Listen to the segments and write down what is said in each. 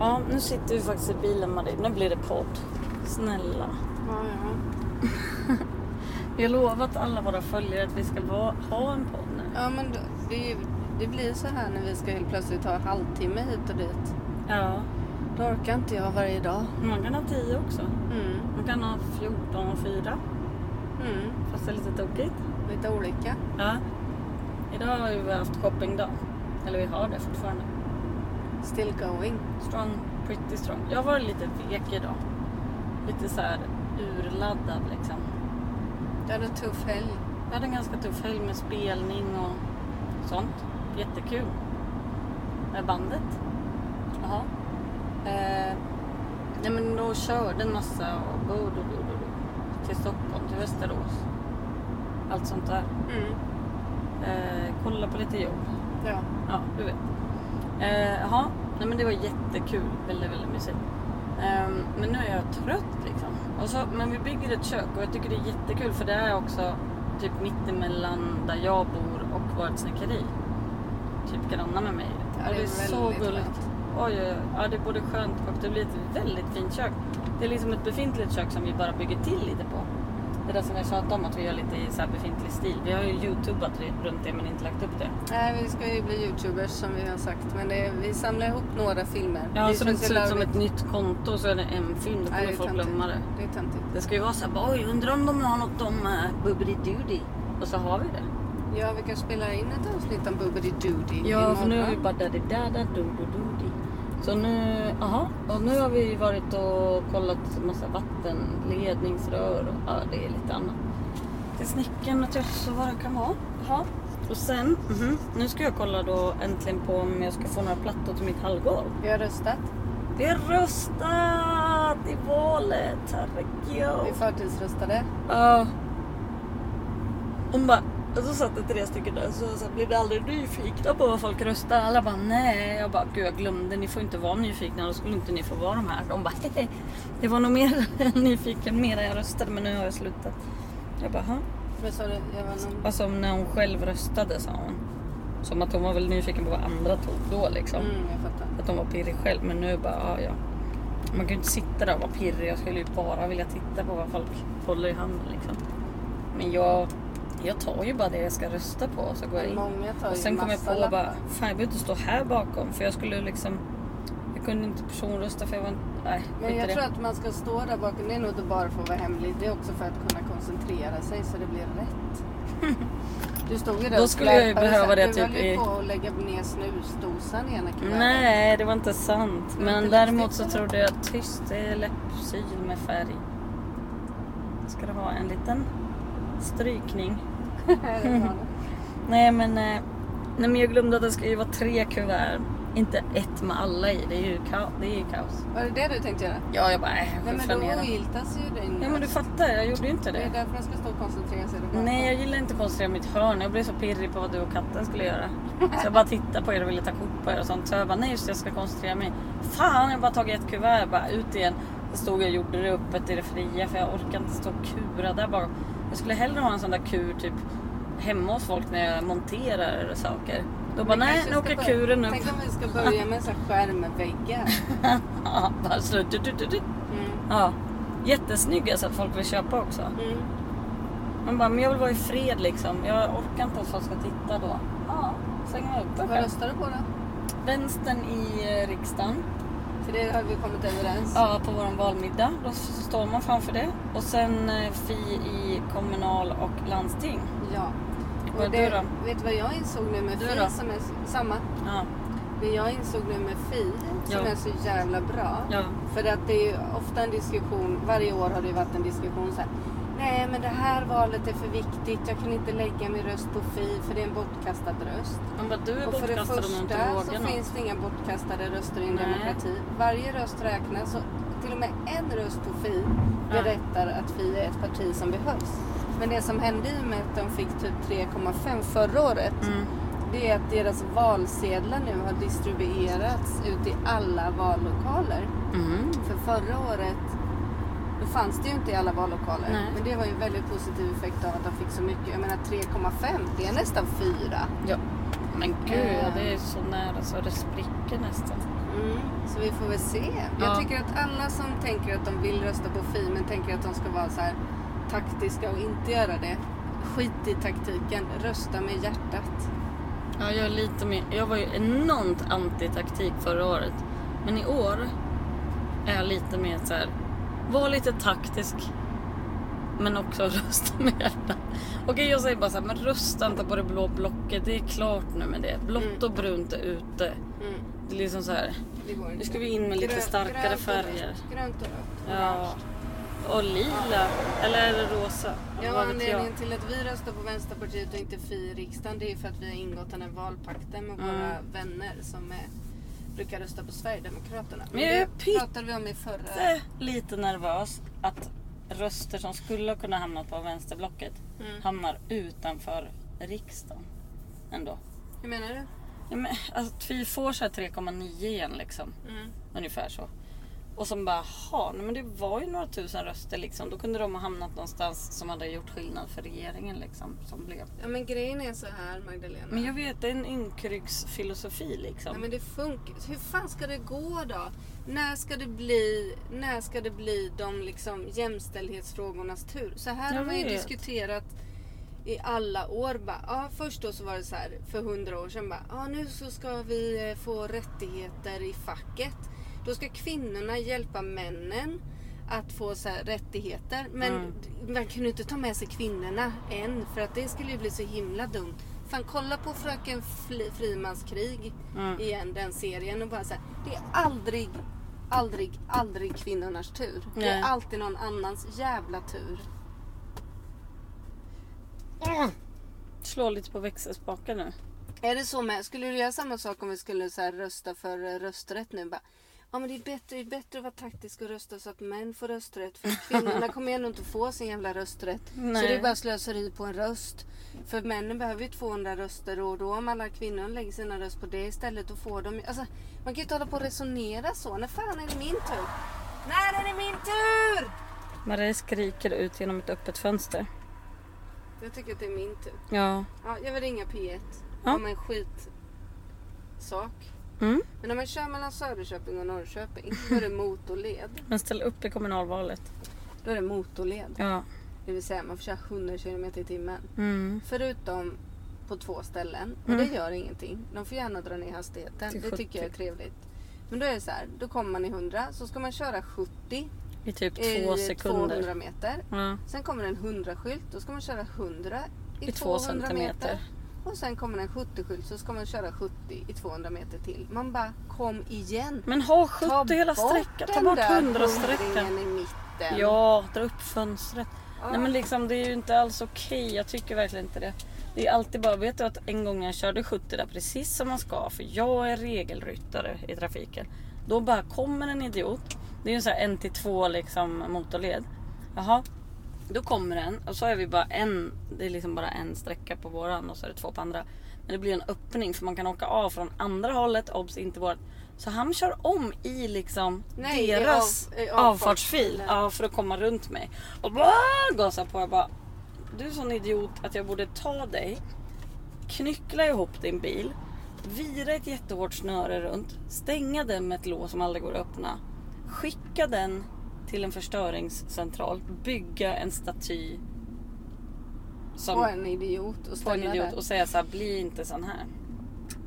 Ja, nu sitter vi faktiskt i bilen Marie. Nu blir det podd. Snälla. Ja, ja. Vi har lovat alla våra följare att vi ska va- ha en podd nu. ja men då- det, är ju, det blir så här när vi ska helt plötsligt ta en halvtimme hit och dit. Ja. Då orkar inte jag varje dag. Man kan ha 10 också. Mm. Man kan ha 14 och 4. Mm. Fast det är lite tokigt. Lite olika. Ja. Idag har vi haft shoppingdag. Eller vi har det fortfarande. Still going. Strong, pretty strong. Jag var lite vek idag. Lite så här urladdad liksom. Du hade en tuff helg. Jag hade en ganska tuff helg med spelning och sånt. Jättekul. Med bandet. Jaha. Eh, nej men då körde en massa och bo, do, do, do, do, till Stockholm, till Västerås. Allt sånt där. Mm. Eh, kolla på lite jobb. Ja. Ja, du vet. Eh, Jaha, nej men det var jättekul. Väldigt, väldigt mysigt. Ehm, men nu är jag trött liksom. Och så, men vi bygger ett kök och jag tycker det är jättekul för det är också typ mittemellan där jag bor och vårt snickeri. Typ grannar med mig. Ja, och det det är är så väldigt gulligt. skönt. Oj, oj, oj. Ja, det är både skönt och det blir ett väldigt fint kök. Det är liksom ett befintligt kök som vi bara bygger till lite på. Det där som jag tjatade om att vi gör lite i så här befintlig stil. Vi har ju youtubat runt det men inte lagt upp det. Nej, vi ska ju bli youtubers som vi har sagt. Men det, vi samlar ihop några filmer. Ja, vi så det finns ju ser ut som lagligt. ett nytt konto så är det en film. Då Nej, kommer folk töntigt. glömma det. Det är töntigt. Det ska ju vara så här, bara, oj, undrar om de har något om uh, Bubbidi Och så har vi det. Ja, vi kanske spelar in ett avsnitt om Boobity Doody Ja, för nu är vi bara daddy dada do do do di. Så nu, aha, och nu har vi varit och kollat massa vattenledningsrör och ja, det är lite annat. Till snickaren och till oss och vad det kan vara. Jaha. Och sen, mhm, nu ska jag kolla då äntligen på om jag ska få några plattor till mitt hallgolv. Vi har röstat. Vi har röstat i valet, Vi herregud. förtidsröstade. Ja. Hon bara, och så satt det tre stycken där så, så blev det aldrig nyfikna på vad folk röstar. Alla bara nej. Jag bara, gud jag glömde, ni får inte vara nyfikna, då skulle inte ni få vara de här. De bara, hehe. Det var nog mer nyfiken, mer jag röstade men nu har jag slutat. Jag bara, "Ha?" Men så, jag var någon... Alltså när hon själv röstade sa hon. Som att hon var väl nyfiken på vad andra tog då liksom. Mm, jag fattar. Att hon var pirrig själv men nu bara ah, ja, ja. Man kan ju inte sitta där och vara pirrig. Jag skulle ju bara vilja titta på vad folk håller i handen liksom. Men jag, jag tar ju bara det jag ska rösta på och så går jag in. Många tar Och ju sen kom jag massa på lappar. bara, fan jag behöver inte stå här bakom för jag skulle liksom jag kunde inte personrösta för jag var inte... Nej, skit Men i jag det. tror att man ska stå där bakom. Det är nog inte bara för att vara hemlig. Det är också för att kunna koncentrera sig så det blir rätt. Du stod ju där Då och skulle jag ju släpade behöva sen. det du typ höll ju i- på att lägga ner snusdosan i ena kuvertet. Nej, det var inte sant. Inte Men riktigt, däremot så eller? trodde jag tyst, det är läppsyl med färg. Ska det vara en liten strykning? Det var det. Nej men, eh, nej men jag glömde att det ska ju vara tre kuvert. Inte ett med alla i. Det är ju kaos. Det är ju kaos. Var det det du tänkte göra? Ja, jag bara, äh, Nej men skjutsar ner då dem. ogiltas ju din Ja men du röst. fattar, jag gjorde ju inte Det det. är därför man ska stå och koncentrera sig där bakom. Nej, jag gillar inte att koncentrera mitt hörn. Jag blev så pirrig på vad du och katten skulle göra. Så jag bara tittade på er och ville ta kort på er och sånt. Så jag bara, nej just det, jag ska koncentrera mig. Fan, jag har bara tagit ett kuvert, bara ut igen. Så stod jag och gjorde det öppet i det fria för jag orkar inte stå och kura där bara. Jag skulle hellre ha en sån där kur typ hemma hos folk när jag monterar saker. Då bara, Vi nej kanske nu ska åker börja- kuren upp. Tänk om vi ska börja med en sån här skärm med väggar. Ja, bara så, du, du, du, du. Mm. Ja. Jättesnygga så att folk vill köpa också. Mm. Man bara, men jag vill vara i fred liksom. Jag orkar inte att folk ska titta då. Ja, slänger man upp det Vad själv. röstar du på då? Vänstern i eh, riksdagen. För det har vi kommit överens. Ja, på vår valmiddag. Då s- står man framför det. Och sen eh, Fi i kommunal och landsting. Ja. Vad är du då? Vet du vad jag insåg nu med Du Fi då? som är s- samma? Ja, Men jag insåg nu med Fi som Ja. är så jävla bra. ja. För att det är ju ofta en diskussion, varje år har det ju varit en diskussion så här. Nej men det här valet är för viktigt, jag kan inte lägga min röst på Fi för det är en bortkastad röst. Man bara, du är Och för det bortkastad om du inte första så vågar något. finns det inga bortkastade röster i en Nej. demokrati. Varje röst räknas och till och med en röst på Fi berättar att Fi är ett parti som behövs. Men det som hände i och med att de fick typ 3,5 förra året Mm. det är att deras valsedlar nu har distribuerats ut i alla vallokaler. Mm. För förra året då fanns det ju inte i alla vallokaler. Nej. Men det var ju en väldigt positiv effekt av att de fick så mycket. Jag menar 3,5 det är nästan 4. Ja. Men gud, Eh. det är så nära så det spricker nästan. Mm. Så vi får väl se. Ja. Jag tycker att alla som tänker att de vill rösta på Fi men tänker att de ska vara så här taktiska och inte göra det. Skit i taktiken. Rösta med hjärtat. Ja, jag, är lite mer, jag var ju enormt anti-taktik förra året. Men i år är jag lite mer så här. Var lite taktisk. Men också rösta med hjärtat. Okej, jag säger bara så här, men rösta inte på det blå blocket. Det är klart nu med det. Blått och brunt är ute. Mm. Det är liksom så här. Det går inte. Nu ska vi in med lite Grö- starkare grönt och färger. rött. Grönt och rött. Ja. Och lila. Eller är det rosa? Ja, Vad vet jag? anledningen till att vi röstar på Vänsterpartiet och inte Fi i riksdagen det är för att vi har ingått den här valpakten med Mm. våra vänner som eh, brukar rösta på Sverigedemokraterna. Men jag är det pratade vi om i förra... lite, lite nervös att röster som skulle kunna hamna på vänsterblocket Mm. hamnar utanför riksdagen ändå. Hur menar du? Ja, men, alltså, att vi får så här 3,9 igen liksom. Mm. Ungefär så. Och som bara, ha, nej, men det var ju några tusen röster liksom. Då kunde de ha hamnat någonstans som hade gjort skillnad för regeringen liksom. Som blev. Ja men grejen är så här Magdalena. Men jag vet, det är en ynkryggsfilosofi liksom. Nej, men det funkar. Hur fan ska det gå då? När ska det bli, när ska det bli de liksom jämställdhetsfrågornas tur? Så här Jag har vi ju vet. diskuterat i alla år. Bara, ja, först då så var det så här för hundra år sedan. Bara, ja, nu så ska vi eh, få rättigheter i facket. Då ska kvinnorna hjälpa männen att få så här rättigheter. Men Mm. man kunde inte ta med sig kvinnorna än för att det skulle ju bli så himla dumt. Fan kolla på Fröken Fli- Frimans krig Mm. igen, den serien och bara så här, det är aldrig, aldrig, aldrig kvinnornas tur. Det är Nej. alltid någon annans jävla tur. Mm. Slå lite på växelspaken nu. Är det så med? Skulle du göra samma sak om vi skulle så här rösta för eh, rösträtt nu? Bara, ja men det är bättre, det är bättre att vara taktisk och rösta så att män får rösträtt. För kvinnorna kommer ju ändå inte få sin jävla rösträtt. Så Nej. det är bara slöseri på en röst. För männen behöver ju 200 röster och då om alla kvinnor lägger sina röst på det istället då får de ju- alltså, Man kan ju inte hålla på och resonera så. När fan är det min tur? När är det min tur? Marie skriker ut genom ett öppet fönster. Jag tycker att det är min tur. Ja. Ja, jag vill ringa P1 Ja. om en skit sak. Mm. Men om man kör mellan Söderköping och Norrköping, då är det motorled. Men ställ upp i kommunalvalet. Då är det motorled. Ja. Det vill säga man får köra 100 km i timmen. Mm. Förutom på två ställen. Och det gör ingenting. De får gärna dra ner hastigheten. Till Det tycker jag är 70. trevligt. Men då är det så här, då kommer man i 100, så ska man köra 70 I typ två i sekunder. 200 meter. Ja. Sen kommer det en 100-skylt, då ska man köra 100 i, I två 200 meter. centimeter. Och sen kommer det en 70-skylt, så ska man köra 70 i 200 meter till. Man bara, kom igen! Men ha 70 Ta hela bort sträckan. Ta den bort där 100 sträckan. hundringen i mitten. Ah, Ja, dra upp fönstret. Ja. Nej men liksom det är ju inte alls okej. Jag tycker verkligen inte det. Det är alltid bara, vet du att en gång jag körde 70 där precis som man ska. För jag är regelryttare i trafiken. Då bara kommer en idiot. Det är ju en sån här en till två liksom motorled. Jaha. Då kommer den och så är vi bara en, det är liksom bara en sträcka på våran och så är det två på andra. Men det blir en öppning för man kan åka av från andra hållet, obs inte vårt. Så han kör om i liksom Nej, i deras av- i avfartsfilen. avfartsfil. Ja, för att komma runt mig. Och bara gasar på. Jag bara, du är sån idiot att jag borde ta dig, knyckla ihop din bil, vira ett jättehårt snöre runt, stänga den med ett lås som aldrig går att öppna, skicka den till en förstöringscentral, bygga en staty som, På en idiot och på en ställa idiot där. och säga så här, bli inte sån här.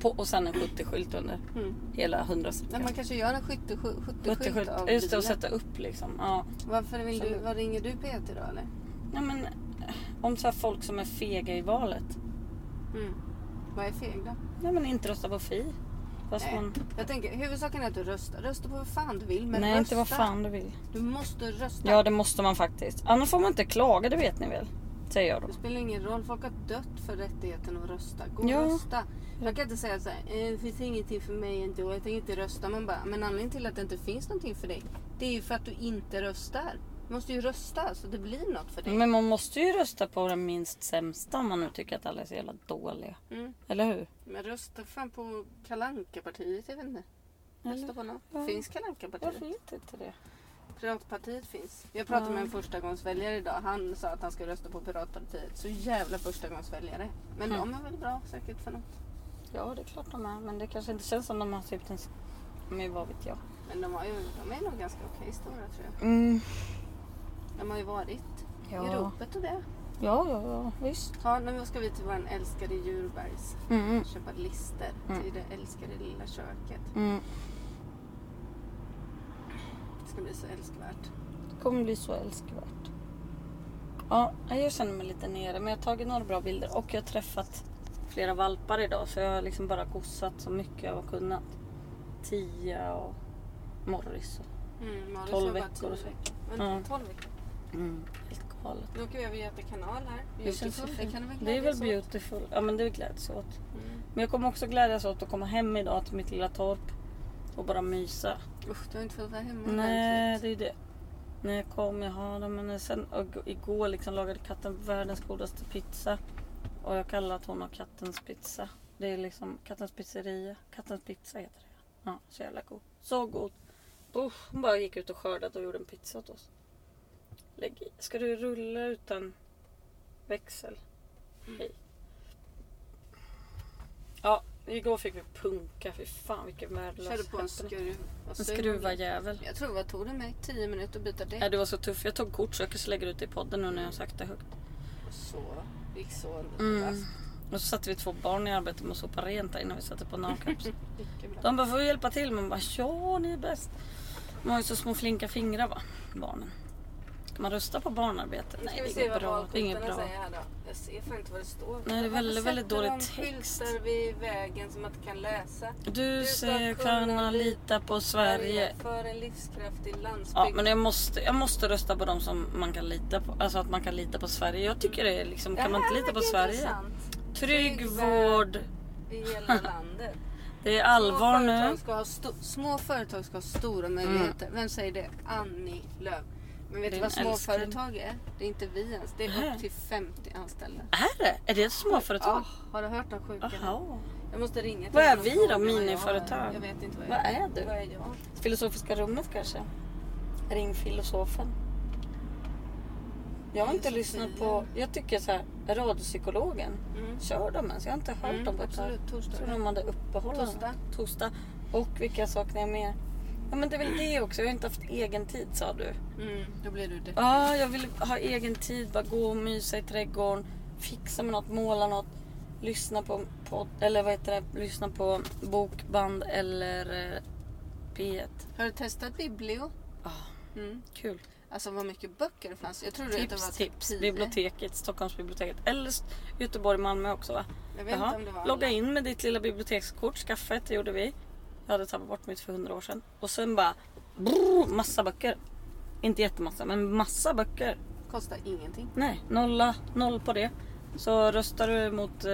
På, och sen en 70-skylt under Mm. hela 100 Nej, man kanske gör en 70-skylt 70-skylt, av just det, och bilen. sätta upp liksom. Ja. Varför vill Som- du, vad ringer du Peter då eller? Nej, men, eh, om så här folk som är fega i valet. Mm. Vad är feg då? Nej men inte rösta på Fi. Fast Nej. man... Jag tänker, huvudsaken är att du röstar. Rösta på vad fan du vill, men Nej rösta. inte vad fan du vill. Du måste rösta. Ja det måste man faktiskt. Annars får man inte klaga det vet ni väl? Säger jag då. Det spelar ingen roll, folk har dött för rättigheten att rösta. Gå och Ja. rösta. Man kan inte säga så här, "Eh, det finns ingenting för mig ändå, jag tänker inte rösta. Man bara, men anledningen till att det inte finns någonting för dig, det är ju för att du inte röstar. Du måste ju rösta så det blir något för dig. Men man måste ju rösta på den minst sämsta om man nu tycker att alla är så jävla dåliga. Mm. Eller hur? Men rösta fan på kalanka partiet jag vet inte. Rösta Eller? på något. Ja. Finns kalanka Jag partiet vet inte det. Piratpartiet finns. Jag pratade med en Ja. förstagångsväljare idag. Han sa att han ska rösta på Piratpartiet. Så jävla förstagångsväljare. Men Mm. de är väl bra säkert för något. Ja det är klart de är. Men det kanske inte känns som de har typ en... Men vad vet jag. Men de, har ju, de är nog ganska okej stora tror jag. Mm. De har ju varit Ja. i ropet och det. Ja, ja, ja, visst. Ja, nu ska vi till vår älskade Djurbergs Mm, köpa lister Mm. till det älskade lilla köket. mm. Det ska bli så älskvärt. Det kommer bli så älskvärt. Ja, jag känner mig lite nere men jag har tagit några bra bilder och jag har träffat flera valpar idag så jag har liksom bara gossat så mycket jag har kunnat. Tia och Morris. Och... Mm, Malin Tolv sa bara veckor tio och så. veckor. Men Mm. 12 veckor. Helt galet. Nu åker vi över Göta kanal här. Det känns så Mm. Beautiful, fint. kan du Det är väl glädjas åt? beautiful. Ja men det gläds jag åt. Mm. Men jag kommer också glädjas åt att komma hem idag till mitt lilla torp och bara mysa. Usch, du har inte fått vara hemma Nej, ordentligt. det är ju det. När jag kom, jag har dem. Men sen och, igår liksom lagade katten världens godaste pizza. Och jag kallar att hon har kattens pizza. Det är liksom kattens pizzeria. Kattens pizza heter det. Ja, så jävla god. Så god. Uff, hon bara gick ut och skördade och gjorde en pizza åt oss. Lägg i. Ska du rulla utan växel? Hej. Ja, igår fick vi punka. Fy fan vilken värdelös Körde på happening. en skruv. Vad En sur jag blev. skruvajävel. Jag tror vad tog det mig? 10 minuter att byta däck. Ja, det var så tufft. Jag tog kort så jag kanske lägger ut det i podden nu när jag har sagt det högt. Så. Det gick så Mm. raskt. Och så satte vi två barn i arbete med att sopa rent där innan vi satte på namnkaps. Mycket bra. De bara, får vi hjälpa till? Man bara, ja ni är bäst. De har ju så små flinka fingrar va, barnen. Ska man rösta på barnarbete? Nu Nej, ska vi det se är inget vad bra. Det är inget valkortarna bra. säger här då. Jag ser fan inte vad det står. det är Varför väldigt, sätter väldigt dålig de text. skyltar vid vägen som man inte kan läsa? Du ska kunna lita på Sverige. För en livskraftig landsbygd. Ja, men jag måste, jag måste rösta på dem som man kan lita på. Alltså att man kan lita på Sverige. Jag tycker det är liksom, Det kan man här inte lita på verkar Sverige? intressant. Trygg Trygg vård. I hela landet. Det är allvar små nu. Mm. Företag ska ha sto- små företag ska ha stora möjligheter. Vem säger det? Annie Lööf. Men vet du Din vad älskling. småföretag är? Det är inte vi ens. Det är Nej. upp till 50 anställda. Är det? Är det ett småföretag? Ah, har du hört om sjukan? Jaha. Jag måste ringa till Vad är honom och vi då, fråga vad jag är. miniföretag? Jag vet inte vad jag Vad är du? Vad är jag? Filosofiska rummet kanske? Ring filosofen. Jag har inte Filosofia. lyssnat på... Jag tycker så här, radiopsykologen. Mm. Kör de ens? Jag har inte hört Mm, dem på ett tag. absolut, Jag torsdag. tror de hade uppehåll. Torsdag. Torsdag. Och vilka saknar jag mer? Ja men det är väl det också. Jag har inte haft egen tid sa du. Mm, då blir du det. Ja, jag vill ha egen tid. Bara gå och mysa i trädgården. Fixa med något, måla något. Lyssna på podd, eller vad heter det? Lyssna på bokband eller eh, P1. Har du testat Biblio? Ja. Mm. Kul. Alltså vad mycket böcker det fanns. Jag trodde att det var Tips, typ tips. 10. Biblioteket, Stockholmsbiblioteket. Eller S- Göteborg, Malmö också va? Jag vet inte om det var Logga alla. in med ditt lilla bibliotekskort. Skaffa ett, det gjorde vi. Jag hade tappat bort mitt för hundra år sedan. Och sen bara... Brrr, massa böcker. Inte jättemassa, men massa böcker. Kostar ingenting. Nej, nolla, noll på det. Så röstar du mot... Eh,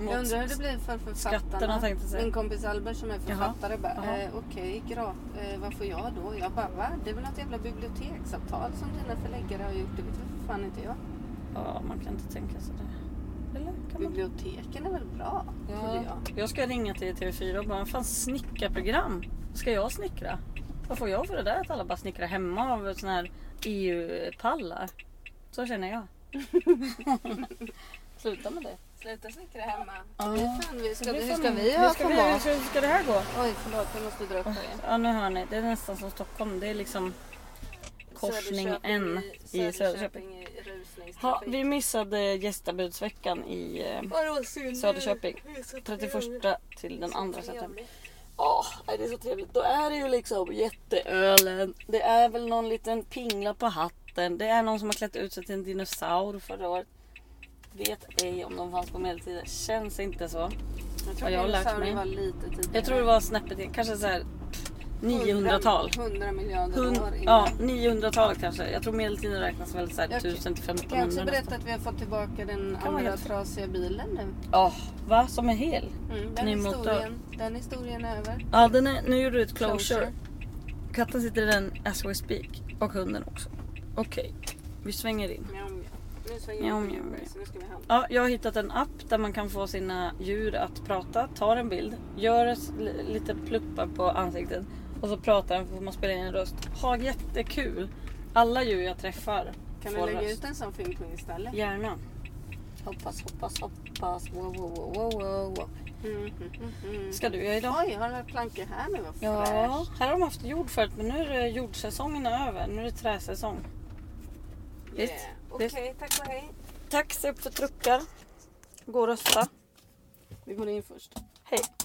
mot Jag undrar hur det blir för skatterna, författarna. tänkte jag säga. Min kompis Albert som är författare Jaha. bara, eh, okej, grat- eh, vad får jag då? Jag bara, va? Det är väl något jävla biblioteksavtal som dina förläggare har gjort? Det vet väl för fan inte jag. Ja, man kan inte tänka sig det. Eller kan man? Biblioteken är väl bra? trodde Ja, jag. jag ska ringa till TV4 och bara, vad fan snickarprogram? Ska jag snickra? Vad får jag för det där att alla bara snickrar hemma av såna här EU-pallar? Så känner jag. Sluta med det. Sluta snickra hemma. Ja. Det är fan, vi ska, Det blir hur ska fan- vi ha hur ska, för vi, mat? hur ska det här gå? Oj, förlåt. Jag måste dra upp igen. Ja nu hör ni, det är nästan som Stockholm. Det är liksom korsning N i Söderköping. i rusningstrafik. Ha, vi missade gästabudsveckan i eh, Vad synd. Söderköping. Det är så 31 till den andra trevligt. september. Ja, nej, det är så trevligt. Då är det ju liksom jätteölen. Det är väl någon liten pingla på hatten. Det är någon som har klätt ut sig till en dinosaur förra året. Vet ej om de fanns på medeltiden. Känns inte så. Jag Vad tror jag har lärt mig. dinosaurier var lite tidigare. Jag tror det var snäppet kanske så här pff, 900-tal. 100 miljarder Hun- år Ja, innan. 900-talet kanske. Jag tror medeltiden räknas väl så här Jag kan- 1000 till Kan jag också 1500. berätta att vi har fått tillbaka den Kan man andra helt- trasiga bilen nu? Ja, va? Som är hel? Mm, den, Ny motor. historien, den historien är över. Ja, den är, nu gjorde du ett closure. Closure. Katten sitter i den as we speak. Och hunden också. Okej, vi svänger in. Mjau, mjau. Nu svänger Mjau, vi mjau, på mjau. så nu ska vi handla. Ja, jag har hittat en app där man kan få sina djur att prata. Tar en bild, gör ett li- lite pluppar på ansiktet och så pratar den får man spela in en röst. Ha jättekul! Alla djur jag träffar Kan får du lägga röst. ut en sån film på Insta eller? Gärna. Hoppas, hoppas, hoppas. Wow, wow, wow, wow, wow, wow. Mm, mm, mm. Ska du göra idag? Oj, har du plankor här nu? Vad Ja, fräscht. här har de haft jord förut men nu är det jordsäsongen är över. Nu är det träsäsong. visst, Yeah. Okej, visst. tack och hej. Tack, se upp för truckar. Gå och rösta. Vi går in först. Hej.